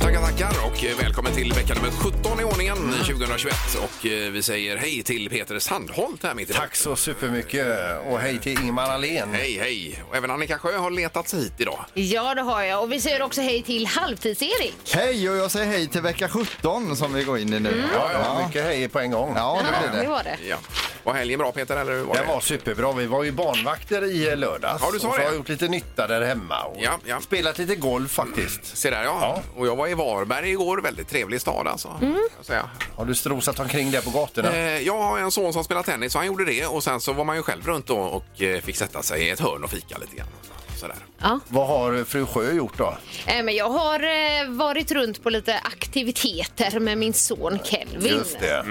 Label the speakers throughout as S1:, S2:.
S1: Tackar, tackar och eh, välkommen till vecka nummer 17 i ordningen
S2: Mm.
S1: 2021. Och eh, vi säger hej till Peter Sandholt här mitt i
S2: Tack så supermycket och hej till Ingemar Ahlén.
S1: Hej, hej! Och även Annika Sjö har letat sig hit idag.
S3: Ja, det har jag. Och vi säger också hej till Halvtids-Erik.
S4: Hej och jag säger hej till vecka 17 som vi går in i nu.
S2: Ja, ja, mycket hej på en gång.
S4: Ja, det blir
S3: det
S4: det.
S3: var det.
S1: Ja. Var helgen bra Peter, eller hur var det?
S2: Den var superbra. Vi var ju barnvakter i lördags.
S1: Ja, du sa
S2: och så
S1: det.
S2: har jag gjort lite nytta där hemma och
S1: Ja, ja.
S2: spelat lite golf faktiskt.
S1: Se där ja.
S2: Ja.
S1: Och jag var i Varberg igår, väldigt trevlig stad alltså. Jag säga.
S2: Har du strosat omkring där på gatorna?
S1: Eh, Jag har en son som spelar tennis och han gjorde det och sen så var man ju själv runt då och eh, fick sätta sig i ett hörn och fika lite grann. Sådär.
S2: Vad har fru Sjö gjort då?
S3: Äh, men jag har eh, varit runt på lite aktiviteter med min son Kelvin.
S2: Ja.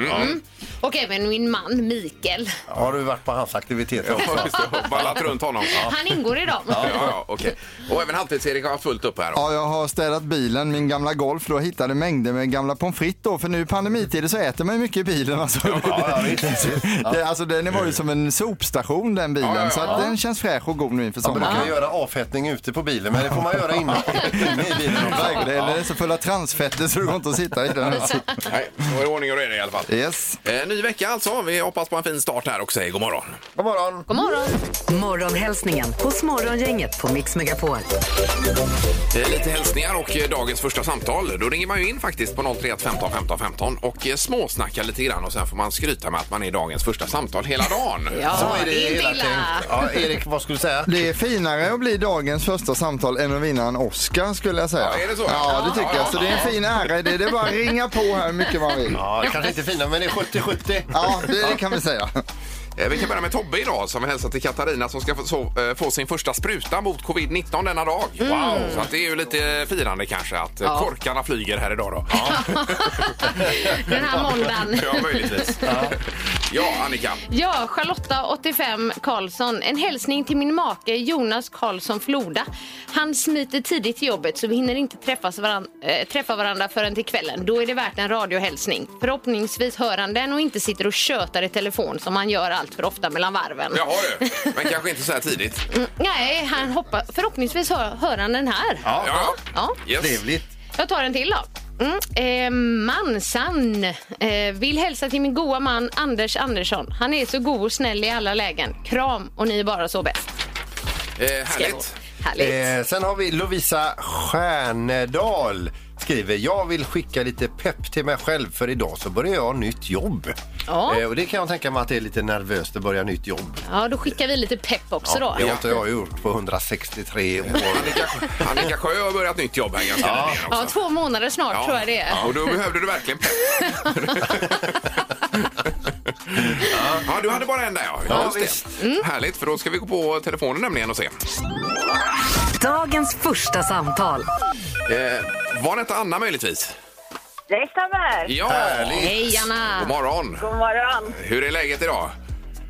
S3: Och även min man Mikael.
S2: Har du varit på hans aktiviteter också?
S1: Och Ballat runt honom. Ja.
S3: Han ingår i dem.
S1: Ja, ja, okej. Och även Halvtids-Erik har fullt upp här.
S4: Ja, jag har städat bilen, min gamla Golf då, hittade mängder med gamla pommes frites då, för nu i pandemitider så äter man ju mycket i bilen alltså.
S2: Ja, visst.
S4: Det, alltså den var ju som en sopstation den bilen,
S1: Ja, ja, ja.
S4: så att den känns fräsch och god nu inför
S2: Men du
S4: sommaren.
S2: kan göra avfettning ute på bilen, men det får man göra inne inne i bilen också.
S4: Verkligen, Den är så full av transfetter så det går inte att sitta i den.
S1: Nej, då är det ordning och reda i alla fall.
S4: Yes.
S1: Eh, Ny vecka alltså. Vi hoppas på en fin start här och säger god morgon.
S2: God morgon!
S3: God morgon.
S5: Morgonhälsningen hos Morgongänget på Mix Megapol.
S1: Eh, Lite hälsningar och eh, dagens första samtal. Då ringer man ju in faktiskt på 031 15 15 15 och eh, småsnackar lite grann och sen får man skryta med att man är dagens första samtal hela dagen.
S3: Ja,
S2: Så är det hela
S3: illa.
S2: tänkt. Ja, Erik, vad skulle du säga?
S4: Det är finare att bli dagens första samtal än att vinna en Oscar skulle jag säga.
S1: Ja, är det så?
S4: Ja, det tycker jag. Så det är en fin ära i det. Det är bara att ringa på här hur mycket man vill.
S2: Ja, kanske inte fina, men det är 70-70.
S4: Ja, det, det kan vi säga.
S1: Eh, Vi kan börja med Tobbe idag som vill hälsa till Katarina som ska få, så, eh, få sin första spruta mot covid-19 denna dag. Wow! Så att det är ju lite firande kanske att eh,
S3: Ja.
S1: korkarna flyger här idag då.
S3: Den här måndagen.
S1: Ja, möjligtvis. Ja, Annika.
S3: Ja, Charlotta, 85, Karlsson. En hälsning till min make Jonas Karlsson Floda. Han smiter tidigt till jobbet så vi hinner inte träffas varan, eh, träffa varandra förrän till kvällen. Då är det värt en radiohälsning. Förhoppningsvis hör han den och inte sitter och tjötar i telefon som han gör allt för ofta mellan varven.
S1: Jaha du, men kanske inte så här tidigt.
S3: Mm, Nej, han hoppa, förhoppningsvis hör, hör han den här.
S2: Ja,
S1: Ja,
S3: Ja.
S1: yes.
S2: Trevligt.
S3: Jag tar en till då. Mm. Eh, Mansan eh, vill hälsa till min goa man Anders Andersson. Han är så god och snäll i alla lägen. Kram och ni är bara så bäst.
S1: Eh,
S3: Ska jag
S1: härligt.
S3: gå. Härligt.
S2: Eh, sen har vi Lovisa Stjärnedal skriver jag vill skicka lite pepp till mig själv för idag så börjar jag nytt jobb. Eh,
S3: Ja.
S2: och det kan jag tänka mig att det är lite nervöst att börja nytt jobb.
S3: Ja, då skickar vi lite pepp också då.
S2: Det har inte jag gjort på 163 år.
S1: Annika, Annika Sjö har börjat nytt jobb här ganska nyligen också.
S3: Ja, två månader snart tror jag det är.
S1: Ja, och då behövde du verkligen pepp. ja. ja, du hade bara en där ja.
S2: Ja,
S1: Just det. Mm.
S2: visst.
S1: Härligt, för då ska vi gå på telefonen nämligen och se.
S5: Dagens första samtal.
S1: Eh, var det inte Anna möjligtvis?
S6: Det stämmer.
S1: Ja!
S3: Hej Anna!
S1: God morgon!
S6: God morgon.
S1: Hur är läget idag?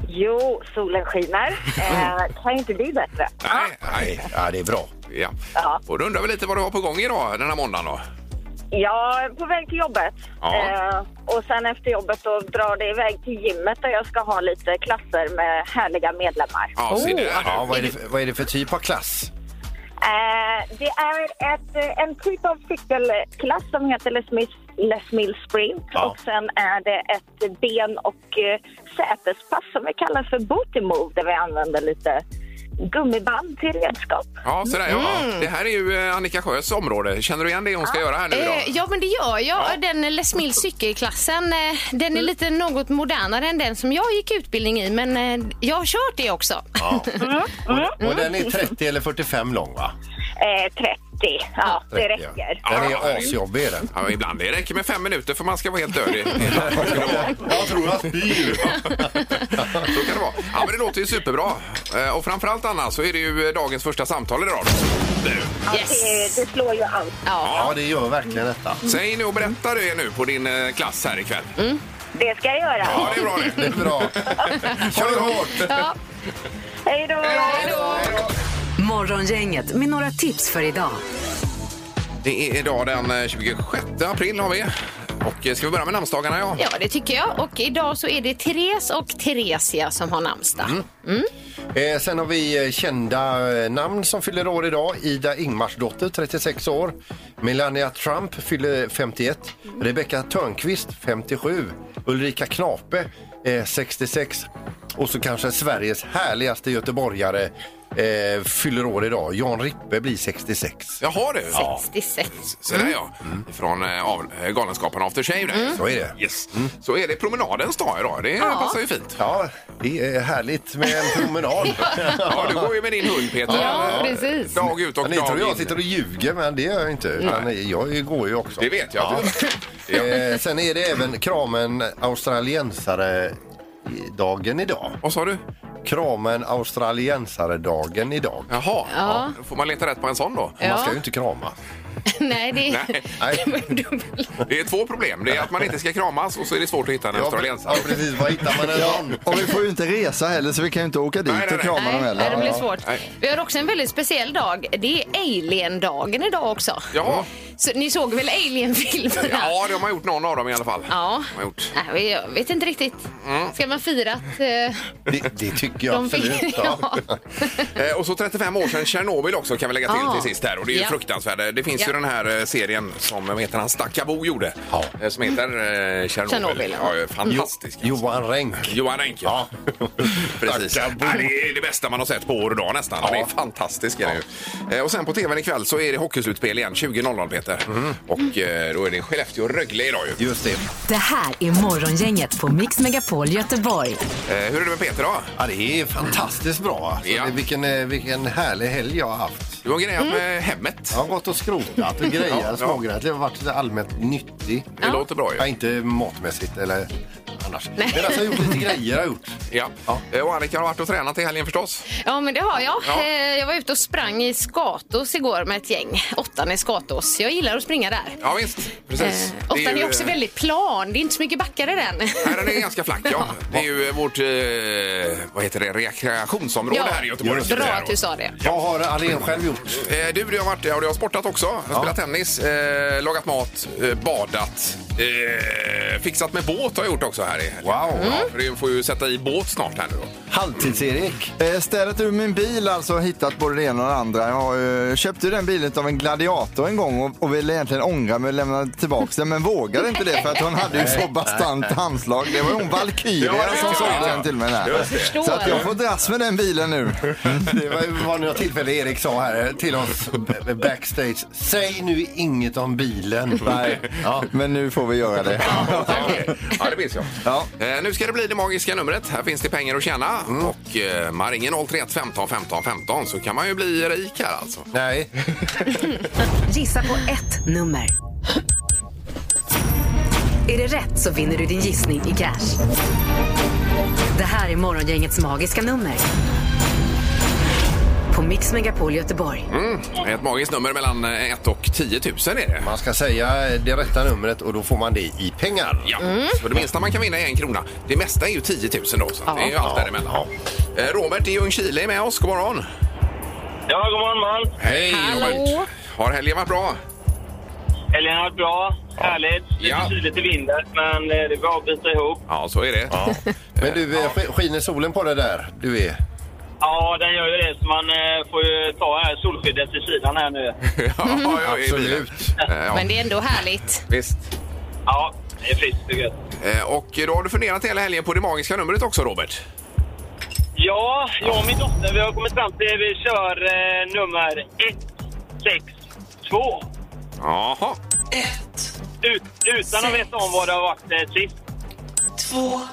S6: Jo, solen skiner. Eh, kan ju inte bli bättre.
S1: Nej, nej.
S2: Ja, det är bra.
S1: Ja.
S6: Ja.
S1: Och då undrar vi lite vad du har på gång idag den här måndagen då?
S6: Jag är på väg till jobbet.
S1: Ja.
S6: Eh, och sen efter jobbet då drar det iväg till gymmet där jag ska ha lite klasser med härliga medlemmar.
S1: Ja, se där.
S2: Ja, vad, är det, för- vad är det för typ av klass?
S6: Eh, det är ett, eh, en typ av cykelklass som heter Les Mis Les Mills Sprint
S2: Ja.
S6: och sen är det ett ben och eh, sätespass som vi kallar för booty move där vi använder lite gummiband till redskap.
S1: Ja, så där, ja. Det här är ju eh, Annika Sjös område. Känner du igen det hon ska göra här nu idag?
S3: Eh, ja, men det gör jag. Den Les Mills cykelklassen, eh, den
S1: Mm.
S3: är lite något modernare än den som jag gick utbildning i, men eh, jag har kört det också.
S2: Och den är 30 eller 45 lång va?
S6: Eh, 30, ja det
S2: 30, ja.
S6: räcker.
S2: Den är asjobbig är den.
S1: Ja, ibland det räcker med fem minuter för man ska vara helt död. i- i-
S2: Jag tror jag spyr.
S1: Så kan det vara. Ja, men det låter ju superbra. Eh, Och framförallt Anna så är det ju eh, dagens första samtal idag. då. Nu.
S3: Yes.
S6: Det, det slår ju allt.
S3: Ja.
S2: Ja, det gör verkligen detta.
S1: Säg nu och berätta det nu på din eh, klass här ikväll.
S6: Det ska jag göra.
S1: Ja, det är bra det.
S2: Det är bra. Kör hårt!
S3: Ja.
S6: Hej då!
S5: Morgongänget med några tips för idag.
S1: Det är idag den eh, 26 april har vi. Och eh, ska vi börja med namnsdagarna? Ja.
S3: Ja, det tycker jag. Och idag så är det Therese och Theresia som har namnsdag.
S1: Mm.
S2: Eh, sen har vi eh, kända eh, namn som fyller år idag. Ida Ingmarsdotter, 36 år. Melania Trump fyller 51. Rebecca Törnqvist, 57. Ulrika Knape, eh, 66. Och så kanske Sveriges härligaste göteborgare eh, fyller år idag. Jan Rippe blir 66.
S1: Jaha du. Ja.
S3: 66.
S1: Så där ja. Från eh, av, eh, Galenskaparna After Shave. där.
S2: Så är det.
S1: Yes. Så är det promenadens dag idag. Det passar ju fint.
S2: Ja, det är härligt med en promenad.
S1: Ja, du går ju med din hund Peter.
S3: Ja, precis.
S1: Dag ut och
S2: Ni tror jag
S1: dag
S2: sitter
S1: in.
S2: och ljuger, men det gör jag inte. Utan jag går ju också.
S1: Det vet jag att du gör. Ja.
S2: Eh, sen är det även kramen australiensare-dagen idag.
S1: Vad sa du?
S2: Kramen australiensare-dagen idag.
S1: Jaha, ja. då får man leta rätt på en sån då.
S2: Man ska
S3: Ja.
S2: ju inte krama.
S3: Nej, det är...
S1: Nej.
S2: Nej.
S1: Det är två problem. Det är att man inte ska kramas och så är det svårt att hitta en
S2: Ja, pre-
S1: australiensare.
S2: Ja, precis. Var hittar man en sån?
S4: Och vi får ju inte resa heller så vi kan ju inte åka dit
S1: Nej, nej,
S4: och
S1: nej.
S4: krama dem
S3: Nej,
S4: heller.
S3: det blir svårt.
S1: Nej.
S3: Vi har också en väldigt speciell dag. Det är Alien-dagen idag också.
S1: Ja.
S3: Så ni såg väl Alien-filmerna?
S1: Ja, de har gjort någon av dem i alla fall.
S3: Ja.
S1: De har gjort.
S3: Nej, jag vet inte riktigt.
S1: Mm.
S3: Ska man fira att eh,
S2: Det, det tycker jag
S3: de
S2: absolut.
S3: fick...
S2: Ja.
S3: Ja.
S1: Eh, Och så 35 år sedan Tjernobyl också kan vi lägga till
S3: Ja.
S1: till sist här. Och det är ju
S3: Ja.
S1: fruktansvärt. Det finns ju
S3: Ja.
S1: den här eh, serien som, vad heter han, Stackabo gjorde.
S2: Ja.
S1: Eh, Som heter eh, Tjernobyl.
S3: Tjernobyl,
S1: ja.
S3: ja.
S1: ja, fantastisk. alltså.
S2: Johan Renck.
S1: Johan Enke. Ja. Precis. Ja,
S2: Stackabo.
S1: det är det bästa man har sett på år och dag nästan. Han är fantastisk. Är det ju. Eh, Och sen på tvn ikväll så är det hockeyslutspel igen 20.00 Peter. Och eh, då är det Skellefteå och Rögle idag ju.
S2: Just det.
S5: Det här är Morgongänget på Mix Megapol Göteborg.
S1: Eh, Hur är det med Peter då?
S2: Ja, det är fantastiskt bra. Alltså,
S1: Ja.
S2: det- vilken, eh, vilken härlig helg jag har haft.
S1: Du har grejat med hemmet.
S2: Jag har gått och skrotat och
S1: Ja, ja.
S2: grejat, smågrejat. Jag har varit lite allmänt nyttig.
S1: Det låter bra ju.
S2: Ja, inte matmässigt eller annars. Men alltså, jag har gjort lite grejer. Jag har gjort.
S1: Ja. Eh, Och Annika har varit och tränat i helgen förstås.
S3: Ja, men det har jag.
S1: Ja.
S3: Eh, Jag var ute och sprang i Skatås igår med ett gäng. Åttan i Skatås. Jag gillar att springa där.
S1: Ja visst, precis.
S3: Eh,
S1: Det
S3: Åttan är,
S1: ju,
S3: också
S1: eh,
S3: väldigt plan. Det är inte så mycket backar i den.
S1: Nej, den är ganska flack, ja. Det är ju eh, vårt, eh, vad heter det, rekreationsområde
S3: Ja.
S1: här i Göteborg.
S3: Bra att du sa det.
S2: Vad har Alén själv gjort?
S1: Eh, Du, du har varit, ja, du har sportat också. Jag har spelat tennis, eh, lagat mat, eh, badat, eh, fixat med båt har jag gjort också här i helgen.
S2: Wow.
S1: Ja, för du får ju sätta i båt snart här nu då.
S2: Halvtids-Erik.
S4: Eh, Städat ur min bil alltså och hittat både det ena och det andra. Jag har, eh, köpte ju den bilen av en gladiator en gång och, och ville egentligen ångra mig och lämna tillbaka den men vågade inte det för att hon hade ju så bastant handslag. Det var ju hon Valkyria
S1: Ja, det
S4: som
S1: vet jag,
S4: sålde
S1: ja.
S4: den till mig där.
S3: Förstår.
S4: Så att jag får dras med den bilen nu.
S2: Det var var något tillfälle Erik sa här till oss b- backstage. Säg nu inget om bilen. Nej. Ja.
S4: Men nu får vi göra det.
S1: Okej. Ja, det minns jag.
S4: Ja.
S1: Eh, nu ska det bli det magiska numret. Här finns det pengar att tjäna. Och eh, man ringer 031 15 15 15 så kan man ju bli rik här alltså.
S2: Nej.
S5: Gissa på ett nummer. Är det rätt så vinner du din gissning i cash. Det här är Morgongängets magiska nummer. På Mix Megapol Göteborg.
S1: Ett magiskt nummer mellan 1 och 10 000 är det.
S2: Man ska säga det rätta numret och då får man det i pengar.
S1: Ja, så det minsta man kan vinna är en krona. Det mesta är ju 10 000 då, så det är ju allt däremellan. Eh, Robert i Ljungskile är med oss. God morgon!
S7: Ja, god morgon man.
S1: Hej
S3: Hallå.
S1: Robert! Har helgen varit bra?
S7: Helgen har varit bra. Härligt. Lite
S1: Ja.
S7: kyligt i vinden, men eh, det är bra att bita ihop.
S1: Ja, så är det.
S2: Men du, eh, sk- skiner solen på dig där? Du är...
S7: Ja, den gör ju det, så man eh, får ju ta här solskyddet till sidan här nu.
S1: ja, ja, ja, i bilen. Eh, ja,
S3: Men det är ändå härligt.
S1: visst.
S7: Ja, det är friskt och gött.
S1: Eh, Och då har du funderat hela helgen på det magiska numret också, Robert.
S7: Ja, jag och min dotter vi har kommit fram till att vi kör eh, nummer 162.
S1: Jaha.
S7: Ut, utan att veta om vad det har varit eh, sist.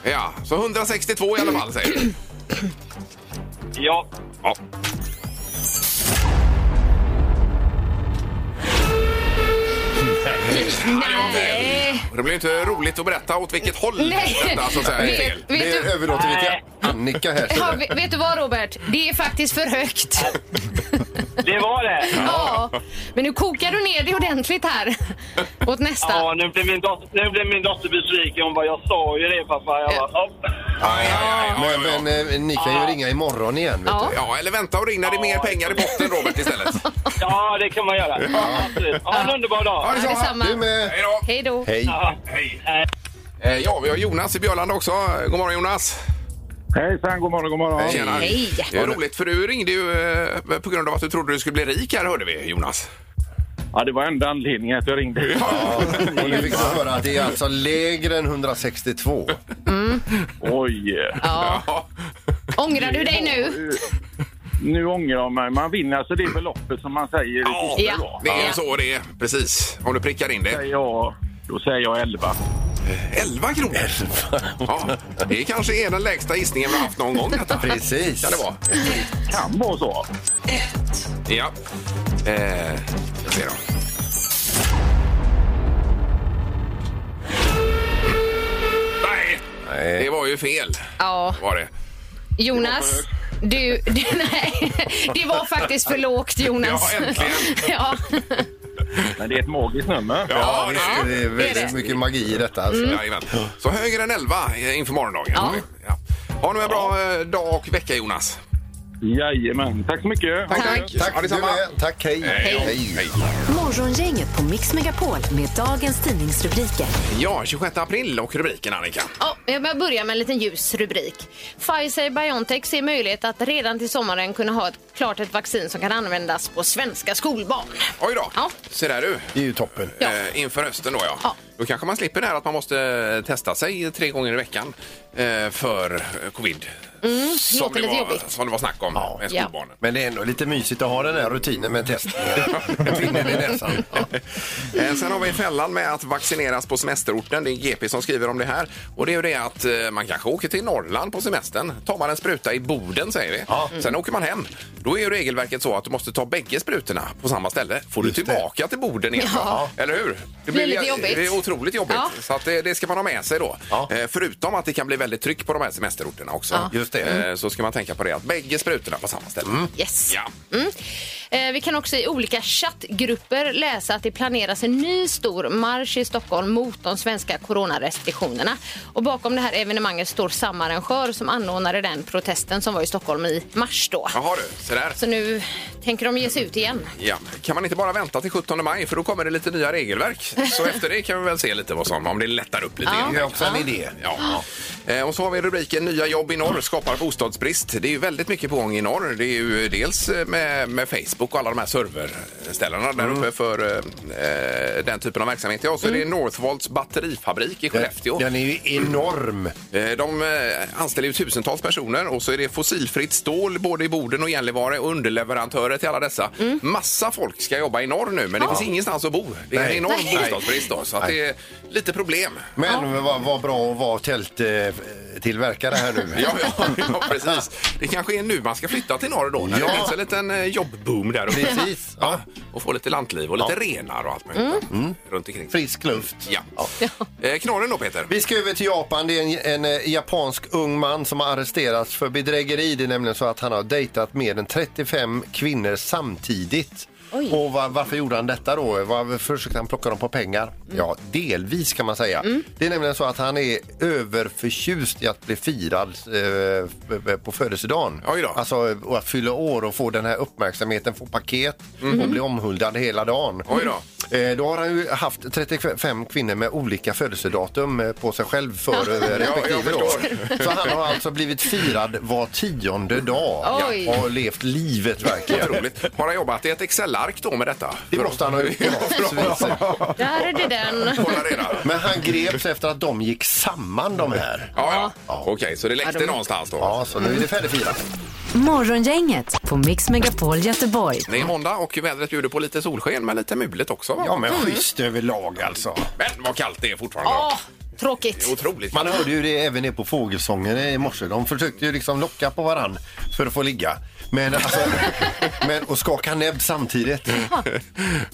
S1: Ja, så 162 i alla fall, säger du.
S7: Ja,
S1: Ja.
S3: Nej.
S1: Och Det blir ju inte roligt att berätta åt vilket håll
S3: Nej.
S1: detta så att säga, är fel.
S3: Vet,
S2: Det
S3: vet, du,
S2: överlåter vi
S7: Nej.
S2: till Annika här.
S3: ja,
S2: ser du.
S3: vet- vet du vad Robert? Det är faktiskt för högt.
S7: det var det.
S3: Ja. Men nu kokar du ner det ordentligt här. Åt nästa.
S7: Ja, nu blev min dotter, nu blev min dotter besviken. Hon bara, jag sa ju det pappa. Jag bara, ja.
S1: Aj, aj, aj, aj,
S2: Men,
S1: aj, aj.
S2: men eh, ni kan ju ringa imorgon igen. Vet
S3: Ja.
S2: du.
S1: Ja, eller vänta och ring när det är mer pengar i botten, Robert, istället.
S7: Ja, det kan man göra. Ja, absolut. Ha en underbar dag.
S3: Ja, detsamma.
S2: Du med.
S1: Hej då!
S3: Hej då.
S2: Hej.
S7: Ja.
S1: Hej!
S7: Hej.
S1: Eh, Ja, vi har Jonas i Björland också. God morgon Jonas!
S8: Hejsan, god morgon, god morgon.
S1: Tjena!
S3: Hej.
S1: Det var roligt för du ringde ju eh, på grund av att du trodde du skulle bli rik här hörde vi Jonas.
S8: Ja, det var enda anledningen att jag ringde.
S2: Och nu fick du höra att det är alltså lägre än 162.
S8: Oj!
S3: Ja.
S1: Ja.
S3: Ångrar du dig nu?
S8: Nu ångrar jag mig. Man vinner alltså det beloppet som man säger.
S1: Ja,
S3: Ja.
S1: det är ju så det är. Precis, om du prickar in
S8: Säger
S1: det.
S8: jag, då säger jag 11.
S1: 11 kronor! Ja, det kanske är den lägsta gissningen vi har haft någon gång detta.
S2: Precis.
S1: Kan det vara.
S8: Kan vara så.
S1: Ja. Eh, jag ser då. Nej, det
S2: Nej.
S1: var ju fel.
S3: Ja.
S1: Var det.
S3: Jonas, du, du, nej, det var faktiskt för lågt Jonas.
S1: Ja, äntligen.
S3: Ja.
S8: Men det är ett magiskt nummer.
S1: Ja, det
S2: Ja,
S1: är
S2: det
S1: ju.
S2: är väldigt mycket magi i detta.
S4: Mm.
S2: Alltså.
S1: Jajamän. Så högre än 11 inför morgondagen.
S3: Ja.
S1: Ja. Ha nu en bra eh, dag och vecka, Jonas.
S8: Jajamän. Tack så mycket.
S3: Tack.
S1: Ja,
S2: Tack, du
S1: detsamma.
S2: med. Tack, hej.
S1: Hej.
S5: Morgongänget på Mix Megapol med dagens tidningsrubriker.
S1: Ja, 26 april och rubriken, Annika.
S3: Ja, jag börjar med en liten ljus rubrik. Pfizer Biontech ser möjlighet att redan till sommaren kunna ha ett, klart ett vaccin som kan användas på svenska skolbarn.
S1: Oj då.
S3: Ja.
S1: Se där du.
S2: Det är ju toppen.
S3: Ja.
S1: Eh, Inför hösten då, ja.
S3: Ja.
S1: Då kanske man slipper det här att man måste eh, testa sig tre gånger i veckan eh, för eh, covid. Mm, som,
S3: låter
S1: det
S3: lite
S1: var,
S3: jobbigt.
S1: som det var snack om med
S3: Ja.
S1: skolbarnen.
S2: Men det är ändå lite mysigt att ha den här rutinen med testningar. Pinnen i näsan.
S1: Eh, Sen har vi fällan med att vaccineras på semesterorten. Det är GP som skriver om det här. Och det är ju det att eh, man kanske åker till Norrland på semestern. Tar man en spruta i Boden säger vi. Sen åker man hem. Då är ju regelverket så att du måste ta bägge sprutorna på samma ställe. Får du
S2: Just det.
S1: tillbaka till Boden igen.
S3: Ja.
S1: Eller hur? Det
S3: Blir
S1: ju-
S3: lite jobbigt.
S1: Det är otroligt jobbigt.
S3: Ja.
S1: Så att det, det ska man ha med sig då.
S2: Ja.
S1: Eh, Förutom att det kan bli väldigt tryck på de här semesterorterna också.
S2: Ja. Just det.
S1: Eh, Så ska man tänka på det att bägge sprutorna på samma ställe.
S3: Yes.
S1: Ja.
S3: Mm. Eh, Vi kan också i olika chattgrupper läsa att det planeras en ny stor marsch i Stockholm mot de svenska coronarestriktionerna. Och bakom det här evenemanget står samma arrangör som anordnade den protesten som var i Stockholm i mars då.
S1: Jaha du, se där.
S3: Så nu tänker de ge sig ut igen.
S1: Ja. Kan man inte bara vänta till 17 maj för då kommer det lite nya regelverk. Så efter det kan vi väl se lite vad som, om det lättar upp lite
S3: Ja.
S1: grann.
S2: Det är också en idé.
S1: Ja. Eh, Och så har vi rubriken Nya jobb i norr skapar bostadsbrist. Det är ju väldigt mycket på gång i norr. Det är ju dels med, med Facebook och alla de här serverställena där
S2: Mm.
S1: uppe för eh, den typen av verksamhet. Ja, och så är det Northvolts batterifabrik i Skellefteå.
S2: Den är ju enorm.
S1: Eh, De eh, anställer ju tusentals personer och så är det fossilfritt stål både i Boden och Gällivare och underleverantörer till alla dessa.
S2: Mm.
S1: Massa folk ska jobba i norr nu men det finns ingenstans att bo. Det är en
S2: Nej.
S1: enorm
S3: Nej.
S1: bostadsbrist då, så att det är lite problem.
S2: Men vad vad bra att vara tälttillverkare här nu.
S1: Ja, ja, ja, precis. Det kanske är nu man ska flytta till norr då när det
S2: Ja.
S1: finns en liten eh, jobbboom där uppe.
S2: Precis. Mm.
S1: Ja, och få lite lantliv och lite renar och allt möjligt runt omkring.
S2: Frisk luft.
S1: Ja. Eh, Knorren då Peter?
S2: Vi ska över till Japan. Det är en, en eh, japansk ung man som har arresterats för bedrägeri. Det är nämligen så att han har dejtat mer än 35 kvinnor samtidigt. Och va- varför gjorde han detta då? Varför försökte han plocka dem på pengar? Ja, delvis kan man säga. Det är nämligen så att han är överförtjust i att bli firad eh, på födelsedagen.
S1: Oj då.
S2: Alltså och att fylla år och få den här uppmärksamheten, få paket och bli omhuldad hela dagen.
S1: Mm. Oj då.
S2: Eh, Då har han ju haft 35 kvinnor med olika födelsedatum eh, på sig själv för eh,
S1: Ja, jag
S2: respektive
S1: förstår.
S2: år. Så han har alltså blivit firad var tionde dag
S3: Oj.
S2: och levt livet verkligen.
S1: Otroligt. Har han jobbat i ett Excel-ark då med detta?
S2: Det måste han ha gjort på något vis.
S3: Där är det den.
S1: Kolla reda.
S2: Men han greps efter att de gick samman de här.
S1: Ja, ja. Okej, så det läckte
S3: Ja, de-
S1: någonstans då?
S2: Ja, så nu är det färdigfirat.
S5: Morgongänget på Mix Megapol Göteborg.
S1: Det är måndag och vädret bjuder på lite solsken men lite mulet också. va?
S2: Ja, men schysst överlag alltså.
S1: Men vad kallt det är fortfarande.
S3: Åh,
S1: Det är
S3: tråkigt.
S1: Otroligt
S2: Man
S1: kallt.
S2: hörde ju det även ner på fågelsången i morse. De försökte ju liksom locka på varann för att få ligga. Men alltså, men, och skaka näbb samtidigt.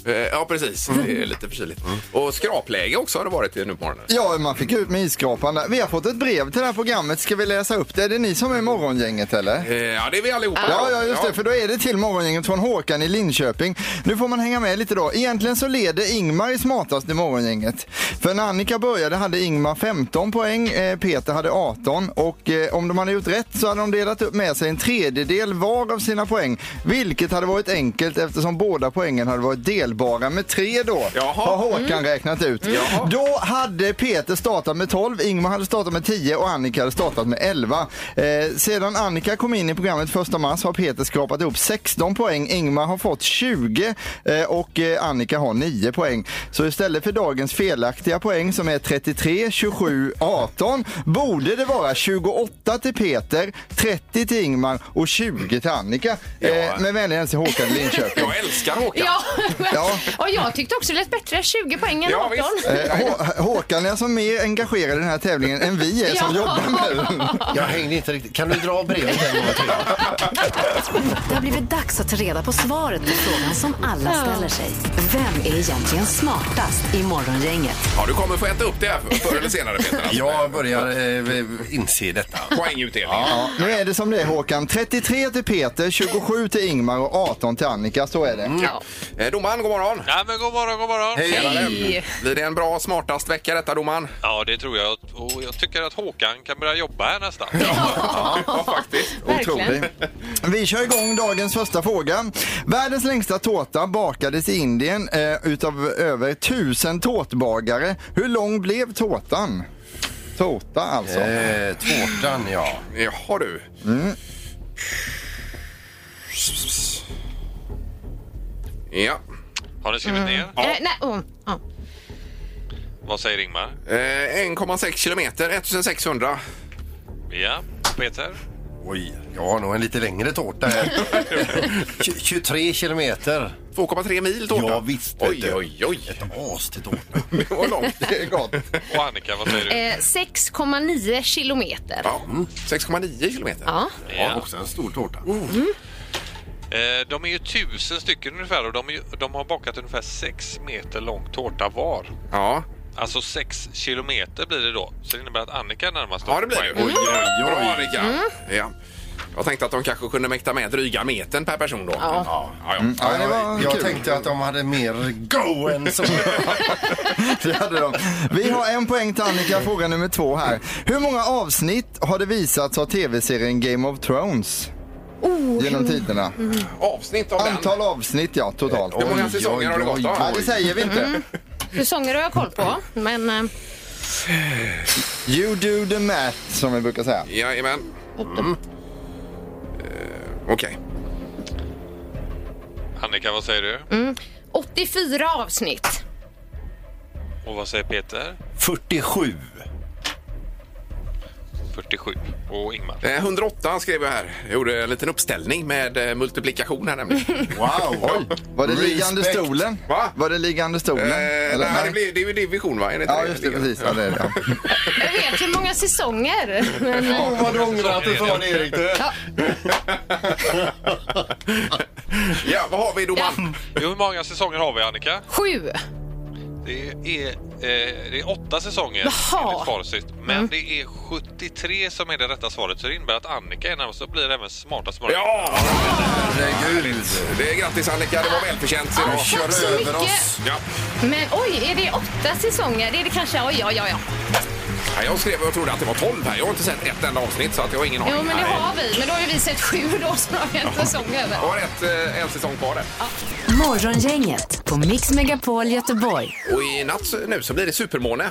S1: Eh, Ja, precis.
S4: Mm.
S1: Det är lite förkyligt. Och skrapläge också har det varit nu på morgonen.
S4: Ja, man fick ut med isskrapan där. Vi har fått ett brev till det här programmet. Ska vi läsa upp det? Är det ni som är morgongänget eller?
S1: Eh, Ja, det är vi allihopa.
S4: Ja, ja, just det. För då är det till Morgongänget från Håkan i Linköping. Nu får man hänga med lite då. Egentligen så leder Ingmar i smartast i Morgongänget. För när Annika började hade Ingmar 15 poäng, eh, Peter hade 18 och eh, om de hade gjort rätt så hade de delat upp med sig en tredjedel var av sina poäng, vilket hade varit enkelt eftersom båda poängen hade varit delbara med tre då,
S1: Jaha.
S4: har Håkan räknat ut. Då hade Peter startat med 12, Ingmar hade startat med 10 och Annika hade startat med 11. Eh, sedan Annika kom in i programmet 1 mars har Peter skrapat ihop 16 poäng, Ingmar har fått 20 eh, och eh, Annika har 9 poäng. Så istället för dagens felaktiga poäng som är 33, 27, 18 borde det vara 28 till Peter, 30 till Ingmar och 20 till Annika.
S1: Ja.
S4: Eh, med vänlig hälsning Håkan i Linköping.
S1: Jag älskar Håkan.
S3: Ja.
S4: Ja.
S3: och jag tyckte också det lät bättre. 20 poäng än
S1: Ja,
S3: 18.
S1: visst.
S4: Eh, Hå- Håkan är alltså mer engagerad i den här tävlingen än vi är som
S3: Ja.
S4: jobbar med den.
S2: Jag hängde inte riktigt. Kan du dra brevet en gång till?
S5: Det har blivit dags att ta reda på svaret på frågan som alla ställer sig. Vem är egentligen smartast i Morgongänget?
S1: Ja, du kommer få äta upp det här förr eller senare Peter. Alltså.
S2: Jag börjar eh, inse detta.
S1: Poängutdelningen.
S4: Ja, nu är det som det är Håkan. 33 till Peter, 27 till Ingmar och 18 till Annika. Så är det.
S3: Ja.
S1: Eh, Domaren, god morgon.
S9: Ja, men god morgon, god morgon.
S3: Hej.
S1: Blir det en bra smartast vecka detta domaren?
S9: Ja, det tror jag. Och jag tycker att Håkan kan börja jobba här nästan.
S1: Ja, faktiskt.
S4: Otrolig. Vi kör igång dagens första fråga. Världens längsta tårta bakades i Indien eh, utav över 1000 tårtbagare. Hur lång blev tårtan? Tårta alltså.
S2: Eh, tårtan, ja.
S1: Jaha du. Ja.
S9: Har ni skrivit
S1: Mm.
S9: ner?
S3: Eh, nej, oh, ja.
S9: Vad säger Ingmar?
S1: Eh, 1,6 kilometer, 1600.
S9: Ja, Peter?
S2: Oj, jag har nog en lite längre tårta här. Tj- 23 kilometer.
S1: 2,3 mil tårta.
S2: Ja, visst, vet
S1: Oj,
S2: du.
S1: oj, oj.
S2: Ett as till tårta.
S1: Det var långt.
S4: Det är gott.
S9: Och Annika, vad säger du?
S3: Eh, 6,9 kilometer.
S1: Ja, mm. 6,9 kilometer.
S3: Ja.
S2: Ja, också en stor tårta.
S9: Eh, de är ju tusen stycken ungefär och de, är ju, de har bakat ungefär sex meter lång tårta var.
S1: Ja,
S9: Alltså sex kilometer blir det då. Så det innebär att Annika är närmast.
S1: ja det blir det.
S9: Poäng.
S1: oj. Bra, Annika. Ja. Jag tänkte att de kanske kunde mäkta med dryga metern per person då. Ja. Ja, ja.
S4: Ja, det var
S2: jag
S4: kul.
S2: tänkte att de hade mer go än så.
S4: Det hade de. Vi har en poäng till Annika, fråga nummer två här. Hur många avsnitt har det visats av tv-serien Game of Thrones? Genom tiderna.
S1: Avsnitt av den.
S4: Antal avsnitt ja, totalt.
S1: Hur många
S2: Oj,
S1: säsonger har det
S2: oj,
S1: gått
S2: oj.
S1: då?
S4: Ja, det säger vi inte.
S3: Säsonger har jag koll på, men eh,
S4: You do the math, som vi brukar säga.
S1: Jajamän. Mm. Eh, Okej.
S9: Annika, vad säger du?
S3: 84 avsnitt.
S9: Och vad säger Peter?
S2: 47.
S9: 47. Och Ingmar?
S1: Eh, 108 skrev jag här. Jag gjorde en liten uppställning med eh, multiplikation här nämligen.
S2: Wow!
S4: Var det liggande
S2: Respekt.
S4: stolen?
S1: Va?
S4: Var det liggande
S1: Eh,
S4: stolen?
S1: nej, det, blir, det är ju division va? Är det inte
S4: Ja, just det. Precis. Ja, det är det. ja.
S3: Jag vet hur många säsonger. Men, eh,
S2: Åh, vad du ångrar att du sa det, Erik. Du.
S1: Ja, vad har vi domaren?
S9: Jo, hur många säsonger har vi Annika?
S3: sju.
S9: Det är, eh, det är åtta säsonger
S3: Jaha.
S9: enligt facit. Men
S6: Mm.
S9: det är 73 som är det rätta svaret. Så det innebär att Annika är närmast och blir även smartast morgon.
S1: Ja!
S2: Herregud.
S1: Det är grattis Annika, det var välförtjänt idag.
S3: Tack så mycket.
S1: Ja.
S3: Men oj, är det åtta säsonger? Det är det kanske? Oj, ja, ja, ja.
S1: Ja, jag skrev och jag trodde att det var 12 här. Jag har inte sett ett enda avsnitt så att jag har ingen aning.
S3: Jo, men det
S1: Nej.
S3: har vi. Men då har ju vi sett sju då, så då har vi en säsong över.
S1: Jag har ett, eh, en säsong kvar där.
S5: Morgongänget på Mix Megapol Göteborg.
S1: Och i natt så- nu så blir det supermåne.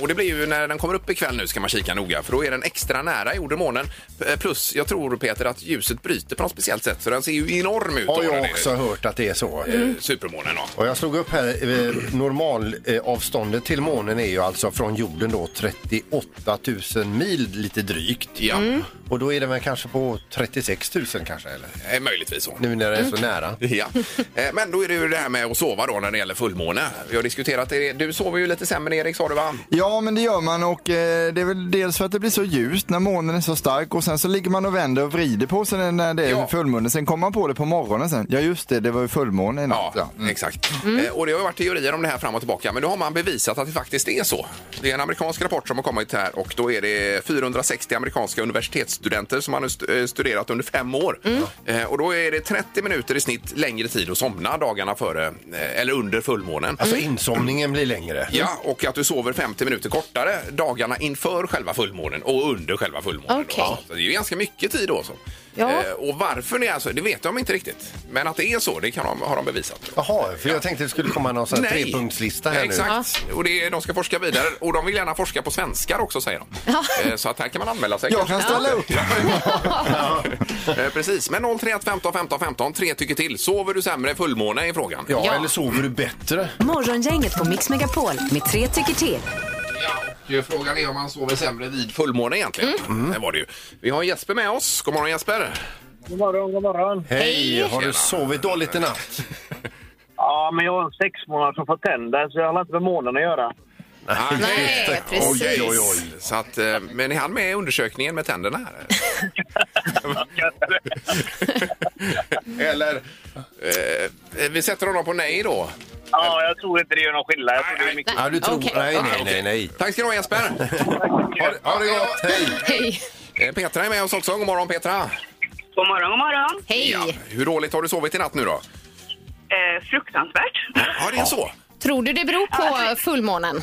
S1: Och det blir ju när den kommer upp ikväll nu ska man kika noga för då är den extra nära jordemånen. Eh, Plus jag tror Peter att ljuset bryter på något speciellt sätt så den ser ju enorm ut.
S2: Har
S1: då, den
S2: jag
S1: är-
S2: också hört att det är så.
S1: eh, Supermånen ja.
S2: Och jag slog upp här, eh, normalavståndet till månen är ju alltså från jorden då 38 000 mil lite drygt. Mm.
S1: Ja,
S2: Och då är den väl kanske på 36 000 kanske eller?
S1: eh, möjligtvis så.
S2: Nu när det är så nära.
S1: Ja. Eh, Men då är det ju det här med att sova då när det gäller fullmåne. Vi har diskuterat det. Du sover ju lite sämre Erik sa du va?
S4: Ja, men det gör man och eh, det är väl dels för att det blir så ljust när månen är så stark och sen så ligger man och vänder och vrider på sig när det är
S1: Ja.
S4: fullmåne. Sen kommer man på det på morgonen sen. Ja, just det, det var ju fullmåne i natt.
S1: Ja,
S4: Ja. Mm.
S1: exakt. Eh, Och det har ju varit teorier om det här fram och tillbaka, men nu har man bevisat att det faktiskt är så. Det är en amerikansk rapport som har kommit här och då är det 460 amerikanska universitetsstudenter som har nu st- eh, studerat under fem år. Eh, Och då är det 30 minuter i snitt längre tid att somna dagarna före eh, eller under fullmånen.
S2: Alltså insomningen blir längre.
S1: Ja, och att du sover 50 minuter kortare dagarna inför själva fullmånen och under själva fullmånen. då.
S3: Okej.
S1: Så det är ju ganska mycket tid då. Så.
S3: Ja.
S1: Eh, och varför det är så, det vet de inte riktigt. Men att det är så, det kan de, har de bevisat.
S2: Jaha, för jag tänkte det skulle komma någon sån här
S1: Nej.
S2: trepunktslista här nu.
S1: Exakt. Och det, de ska forska vidare och de vill gärna forska på svenskar också säger de. Eh, Så att här kan man anmäla sig.
S4: Jag kan ställa upp.
S1: Ja. Eh, Precis, men 031 15 15 15, tre tycker till. Sover du sämre fullmåne i frågan?
S2: Ja,
S3: Ja.
S2: eller sover du bättre?
S5: Morgongänget på Mix Megapol med tre tycker till.
S1: Ju Eh, frågan är om man sover sämre vid fullmåne egentligen. Mm. Det var det ju. Vi har Jesper med oss. God morgon Jesper.
S7: God morgon, god morgon.
S2: Hej, har du
S1: Tjena.
S2: sovit dåligt i natt?
S7: Ja, men jag har en sex månader som får tänder så jag har inte med månaden att göra.
S3: Nej,
S1: just det.
S3: precis.
S1: Oj, oj, oj. Så att, eh, men är han med i undersökningen med tänderna? här? Eller? Eh, vi sätter honom på nej då.
S7: Ja, jag tror inte det gör någon skillnad. Jag tror det är mycket.
S2: Ja, du tror...
S3: Okej,
S2: nej,
S3: okej.
S2: nej, nej, nej.
S1: Tack ska du ha Jesper.
S2: Ha, det- ha det gott, hej!
S3: Hej.
S1: Eh, Petra är med oss också. God morgon Petra.
S6: God morgon, god morgon.
S3: Hej.
S1: Hur dåligt har du sovit i natt nu då?
S6: Eh, fruktansvärt.
S1: Ja, det är så.
S3: Tror du det beror på fullmånen?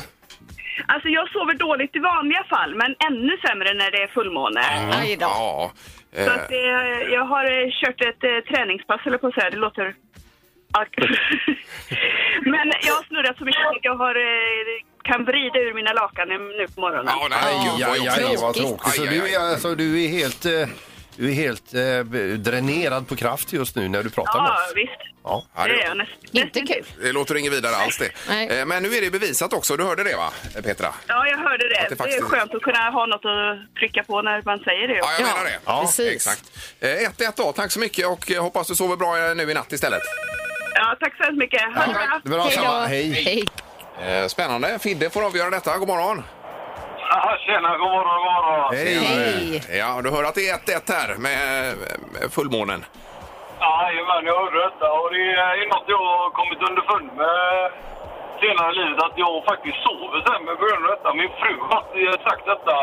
S6: Alltså jag sover dåligt i vanliga fall, men ännu sämre när det är fullmåne.
S3: Aj då.
S1: Ja.
S6: Så
S1: Eh,
S6: att det, jag har eh, kört ett eh, träningspass, eller på att säga, det låter... Ja. Men jag har snurrat så mycket att jag har, eh, kan vrida ur mina lakan nu på morgonen.
S1: Ja, nej,
S2: Aj,
S1: gud, vad
S2: aj, aj,
S1: jobbigt.
S2: vad tråkigt. Så
S1: Aj, aj,
S2: du är, alltså, du är helt, eh, du är helt eh, b- dränerad på kraft just nu när du pratar med
S6: Ja,
S2: oss.
S6: visst.
S2: Ja.
S1: Ja,
S6: Det är
S1: det,
S6: jag nästan.
S3: Inte kul.
S1: det låter inget vidare alls det.
S3: Nej.
S1: Eh, Men nu är det bevisat också. Du hörde det va, Petra?
S6: Ja, jag hörde det.
S1: Att det
S6: Det,
S1: faktiskt
S6: är
S1: är-
S6: skönt att kunna ha något att trycka på när man säger det.
S1: Ja, jag
S3: Ja,
S1: menar det.
S2: Ja,
S3: precis.
S1: Exakt. Eh, 1-1 då. Tack så mycket och eh, hoppas du sover bra eh, nu i natt istället.
S6: Ja, tack så hemskt mycket. Ha det bra.
S2: Bra,
S3: Hej då.
S2: samma. Hej.
S3: Hej.
S1: Eh, Spännande. Fidde får avgöra detta. God morgon.
S8: Ja, tjena, god morgon, god morgon.
S2: Hej.
S3: Hej.
S1: Ja, du hör att det är 1-1 här med eh, med fullmånen.
S8: Jajamän, jag hörde detta och det är något jag har kommit underfund med senare i livet att jag faktiskt sover sämre på grund av detta. Min fru har faktiskt sagt detta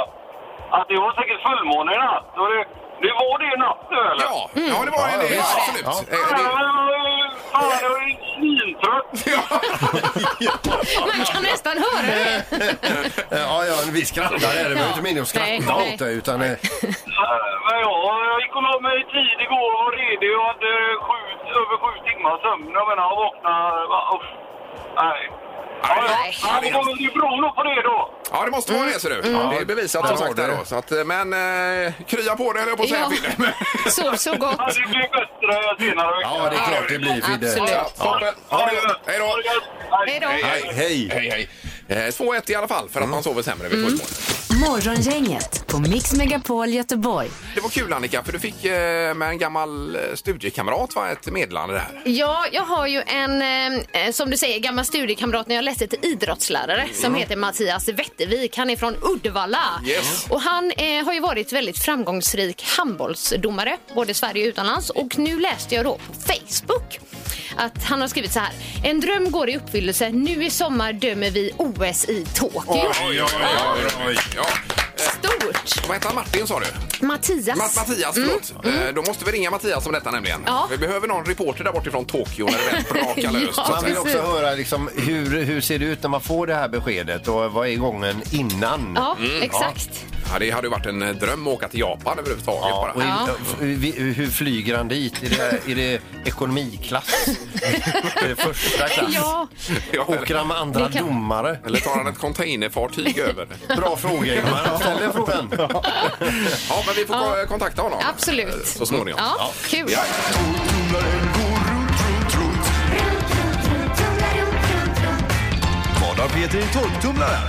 S8: att det var säkert fullmåne i natt och det, det var det i natt nu eller?
S1: Ja, ja det var
S2: Ja,
S1: det.
S2: visst.
S1: Absolut.
S2: Ja.
S1: Eh,
S8: Ja,
S1: det-
S8: men jag var ju- Fan, jag är svintrött!
S3: Man kan nästan höra det.
S2: Eh, Ja, ja, men vi skrattar här. Det var ju inte meningen att
S3: Nej,
S2: skratta
S3: nej.
S2: åt dig, utan... eh,
S8: Men ja, jag gick och la mig i tid igår och var redig och hade sju, över sju timmar sömn. Jag menar, jag vaknade... va, uff. Nej. Ja, ja.
S3: Nej.
S8: Ja, det var- det beror nog på det då.
S1: Ja, det måste vara det ser du. Det är bevisat som
S2: har
S1: sagt
S2: du
S1: där
S2: Mm. det.
S1: då. Så att, eh, men eh, krya på det höll jag på att säga
S3: Ja.
S1: Fidde. Men-
S3: Sov så
S8: Ja,
S3: gott.
S8: det blir bättre senare.
S7: é
S2: Ja, det är klart det blir,
S3: Absolut.
S2: Fidde.
S1: Ja, toppen. Ha det gott. Hej då.
S3: Hej då.
S2: Hej, hej. Mm.
S1: Hej, hej. Eh, 2-1 i alla fall för att man sover sämre vid fullmåne.
S5: Morgongänget på Mix Megapol Göteborg.
S1: Det var kul Annika, för du fick eh, med en gammal eh, studiekamrat va, ett meddelande där.
S3: Ja, jag har ju en, eh, som du säger, gammal studiekamrat när jag läste till idrottslärare som
S1: Mm.
S3: heter Mattias Wettervik. Han är från Uddevalla.
S1: Yes.
S3: Och han eh, har ju varit väldigt framgångsrik handbollsdomare, både i Sverige och utomlands. Och nu läste jag då på Facebook att han har skrivit så här. En dröm går i uppfyllelse. Nu i sommar dömer vi OS i Tokyo.
S1: Ja.
S3: Stort!
S1: Vad hette han? Martin sa du?
S3: Mattias.
S1: Ma- Mattias, förlåt. Eh, Då måste vi ringa Mattias om detta nämligen.
S3: Mm. Ja.
S1: Vi behöver någon reporter där bortifrån Tokyo när det väl brakar löst.
S3: Ja,
S1: så att
S2: Man vill
S1: säga.
S3: precis.
S2: också höra liksom, hur, hur ser det ut när man får det här beskedet och vad är gången innan?
S3: Ja, exakt.
S1: Mm, ja, det hade ju varit en eh, dröm att åka till Japan överhuvudtaget
S2: Ja, och
S1: bara.
S2: i,
S3: Ja.
S2: vi- hur flyger han dit? Är det, är det ekonomiklass? är det första klass?
S3: Ja.
S1: Ja,
S2: Åker
S1: eller,
S2: han med andra
S3: Det kan-
S2: domare?
S1: eller tar han ett containerfartyg över?
S2: Bra fråga, Ingmar. Ställ den frågan.
S1: Ja, men vi får ko- kontakta honom. eh,
S3: Absolut.
S1: Så småningom.
S3: Ja, kul.
S1: Ja.
S4: Vad har Peter i torktumlaren?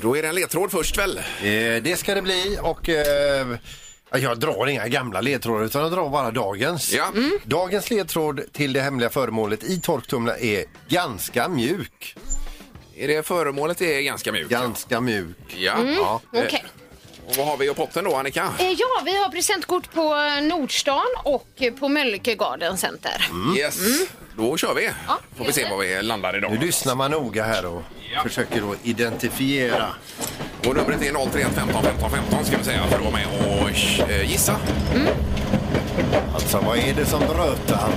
S1: Då är det en ledtråd först väl?
S2: Eh, det ska det bli och eh, jag drar inga gamla ledtrådar utan jag drar bara dagens.
S1: Ja.
S2: Dagens ledtråd till det hemliga föremålet i torktumlaren är ganska mjuk.
S1: Är det föremålet är ganska mjukt?
S2: Ganska mjuk.
S1: Ja. ja.
S3: Okej.
S1: Eh, Och vad har vi i potten då, Annika?
S3: Eh, Ja, vi har presentkort på eh, Nordstan och eh, på Mölnlycke Garden Center.
S1: Yes. Då kör vi.
S3: Mm. Ja,
S1: Får vi se
S3: gör det.
S1: var vi landar idag.
S2: Nu lyssnar man noga här och försöker då identifiera.
S1: Och numret är 031 15 15 15 ska vi säga för att vara med och eh, gissa.
S2: Alltså vad är det som brötar?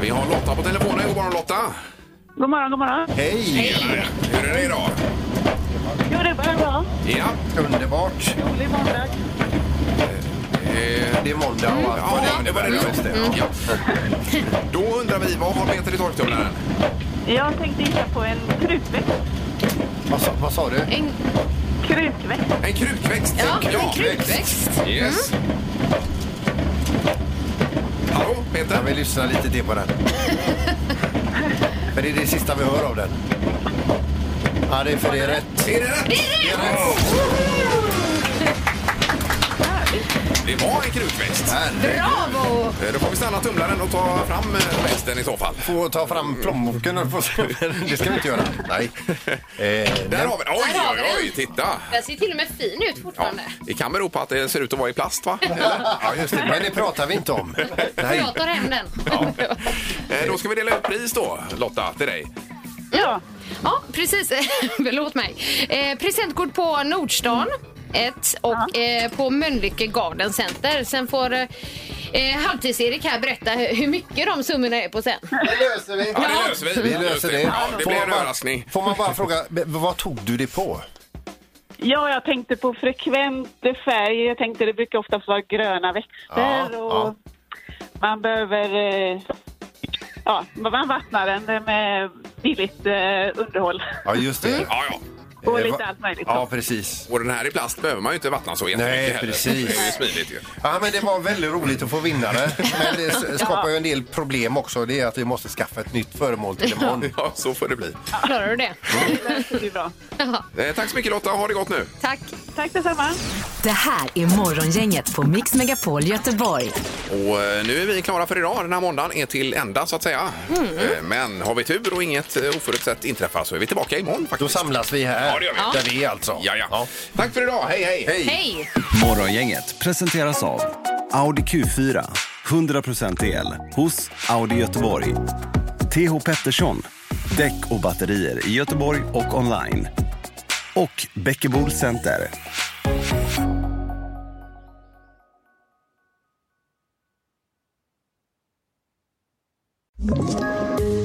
S1: Vi har Lotta på telefonen. God morgon Lotta!
S6: God morgon, god morgon.
S2: Hej!
S1: Tjenare. Hur är det idag?
S6: Jo, det är bara bra.
S1: Ja,
S2: Underbart. eh,
S6: Rolig måndag.
S1: eh,
S2: Det är måndag och allt
S1: ja Mm. det,
S2: vad
S1: det var det
S2: innebär. Just
S1: du ja. Då undrar vi, vad har Peter i torktumlaren?
S6: Jag tänkte hitta på en krukväxt.
S2: Vad sa, vad sa du?
S3: En,
S6: Krukväxt.
S1: En krukväxt.
S3: ja, en krukväxt. Mm.
S1: Yes. Hallå,
S2: Ja,
S1: Peter?
S2: vi lyssnar lite till på den. Men det är det sista vi hör av den. Ja, det är för det är rätt.
S1: Är det rätt? Det är rätt! Det var en krukväxt.
S3: Bravo!
S1: Eh, Då får vi stanna tumlaren och ta fram eh, västen i så fall.
S2: Får ta fram plånboken höll på att säga. Det ska vi inte göra. Nej. Eh,
S1: Där
S2: nej.
S1: har vi den. Oj,
S3: Där har vi
S1: oj,
S3: den.
S1: oj, titta!
S3: Den ser till och med fin ut fortfarande.
S1: Det kan bero på att det ser ut att vara i plast, va?
S2: Ja, just det. Men det pratar vi inte om. Nej.
S3: Jag tar hem den. Ja,
S1: Eh, Då ska vi dela ut pris då, Lotta, till dig.
S6: Ja.
S3: precis. Förlåt mig. Eh, presentkort på Nordstan. Ett, och eh, på Mölnlycke Garden Center. Sen får eh, eh, Halvtids-Erik här berätta hur hur mycket de summorna är på sen.
S4: Det löser vi.
S1: Ja, det löser vi.
S2: Vi löser det.
S1: Ja, det
S2: Får
S1: blir
S2: man
S1: en
S2: bara-
S1: överraskning.
S2: Får man bara fråga, b- vad tog du det på?
S6: Ja, jag tänkte på frekvent färg. Jag tänkte det brukar oftast vara gröna växter
S2: Ja,
S6: och
S2: ja.
S6: man behöver... eh, Ja, man vattnar den med billigt eh, underhåll
S2: Ja, just det.
S1: Ja, ja.
S6: och
S2: Eh,
S6: lite
S2: va-
S6: allt möjligt.
S2: Ja, precis.
S1: Och den här i plast behöver man ju inte vattna så jättemycket
S2: Nej,
S1: heller.
S2: precis.
S1: Det är ju smidigt ju.
S2: Ja, men det var väldigt roligt att få vinna det. Men det s- skapar ju en del problem också. Det är att vi måste skaffa ett nytt föremål till imorgon.
S1: Ja, så får det bli.
S3: Klarar du det?
S6: Det blir bra.
S1: Eh, Tack så mycket Lotta, ha det gott nu.
S3: Tack.
S6: Tack detsamma.
S5: Det här är Morgongänget på Mix Megapol Göteborg.
S1: Och eh, nu är vi klara för idag. Den här måndagen är till ända så att säga.
S3: Mm.
S1: Eh, Men har vi tur och inget eh, oförutsett inträffar så är vi tillbaka imorgon
S2: Då
S1: faktiskt.
S2: samlas vi
S1: Ja,
S2: här,
S1: det gör vi. Ja.
S2: där vi är alltså.
S1: Ja, ja. Tack för idag, hej hej!
S3: Hej!
S10: Morgongänget presenteras av Audi Q4. 100% el hos Audi Göteborg. TH Pettersson. Däck och batterier i Göteborg och online. Och Bäckebol Center.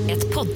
S5: Ett